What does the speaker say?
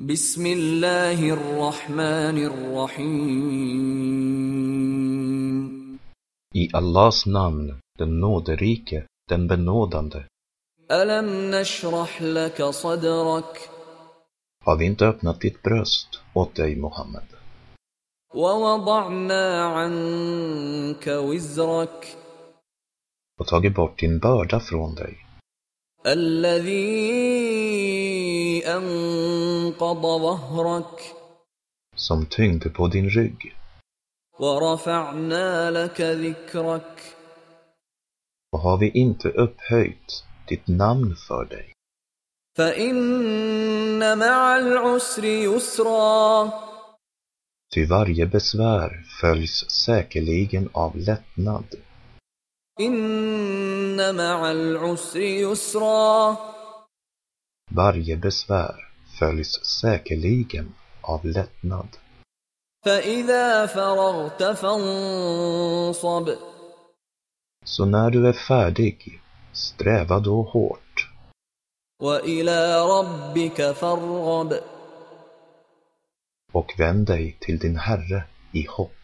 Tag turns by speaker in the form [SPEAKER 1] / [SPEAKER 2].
[SPEAKER 1] بسم الله الرحمن الرحيم
[SPEAKER 2] I Allahs namn, den nåderike, den benådande.
[SPEAKER 1] ألم نشرح لك صدرك
[SPEAKER 2] Har vi inte öppnat ditt bröst åt dig, Mohammed?
[SPEAKER 1] ووضعنا عنك وزرك
[SPEAKER 2] Och tagit bort din börda från dig,
[SPEAKER 1] الذي أنقض ظهرك
[SPEAKER 2] som tyngde på din rygg.
[SPEAKER 1] ورفعنا لك ذكرك
[SPEAKER 2] Och har vi inte upphöjt ditt namn för dig?
[SPEAKER 1] فإن مع العسر يسرا
[SPEAKER 2] Ty varje besvär följs säkerligen av lättnad.
[SPEAKER 1] إن مع العسر يسرا
[SPEAKER 2] Varje besvär följs säkerligen av lättnad.
[SPEAKER 1] فإذا فرغت فانصب
[SPEAKER 2] Så när du är färdig, sträva då hårt
[SPEAKER 1] وإلى ربك فارغب
[SPEAKER 2] och vänd dig till din Herre i hopp.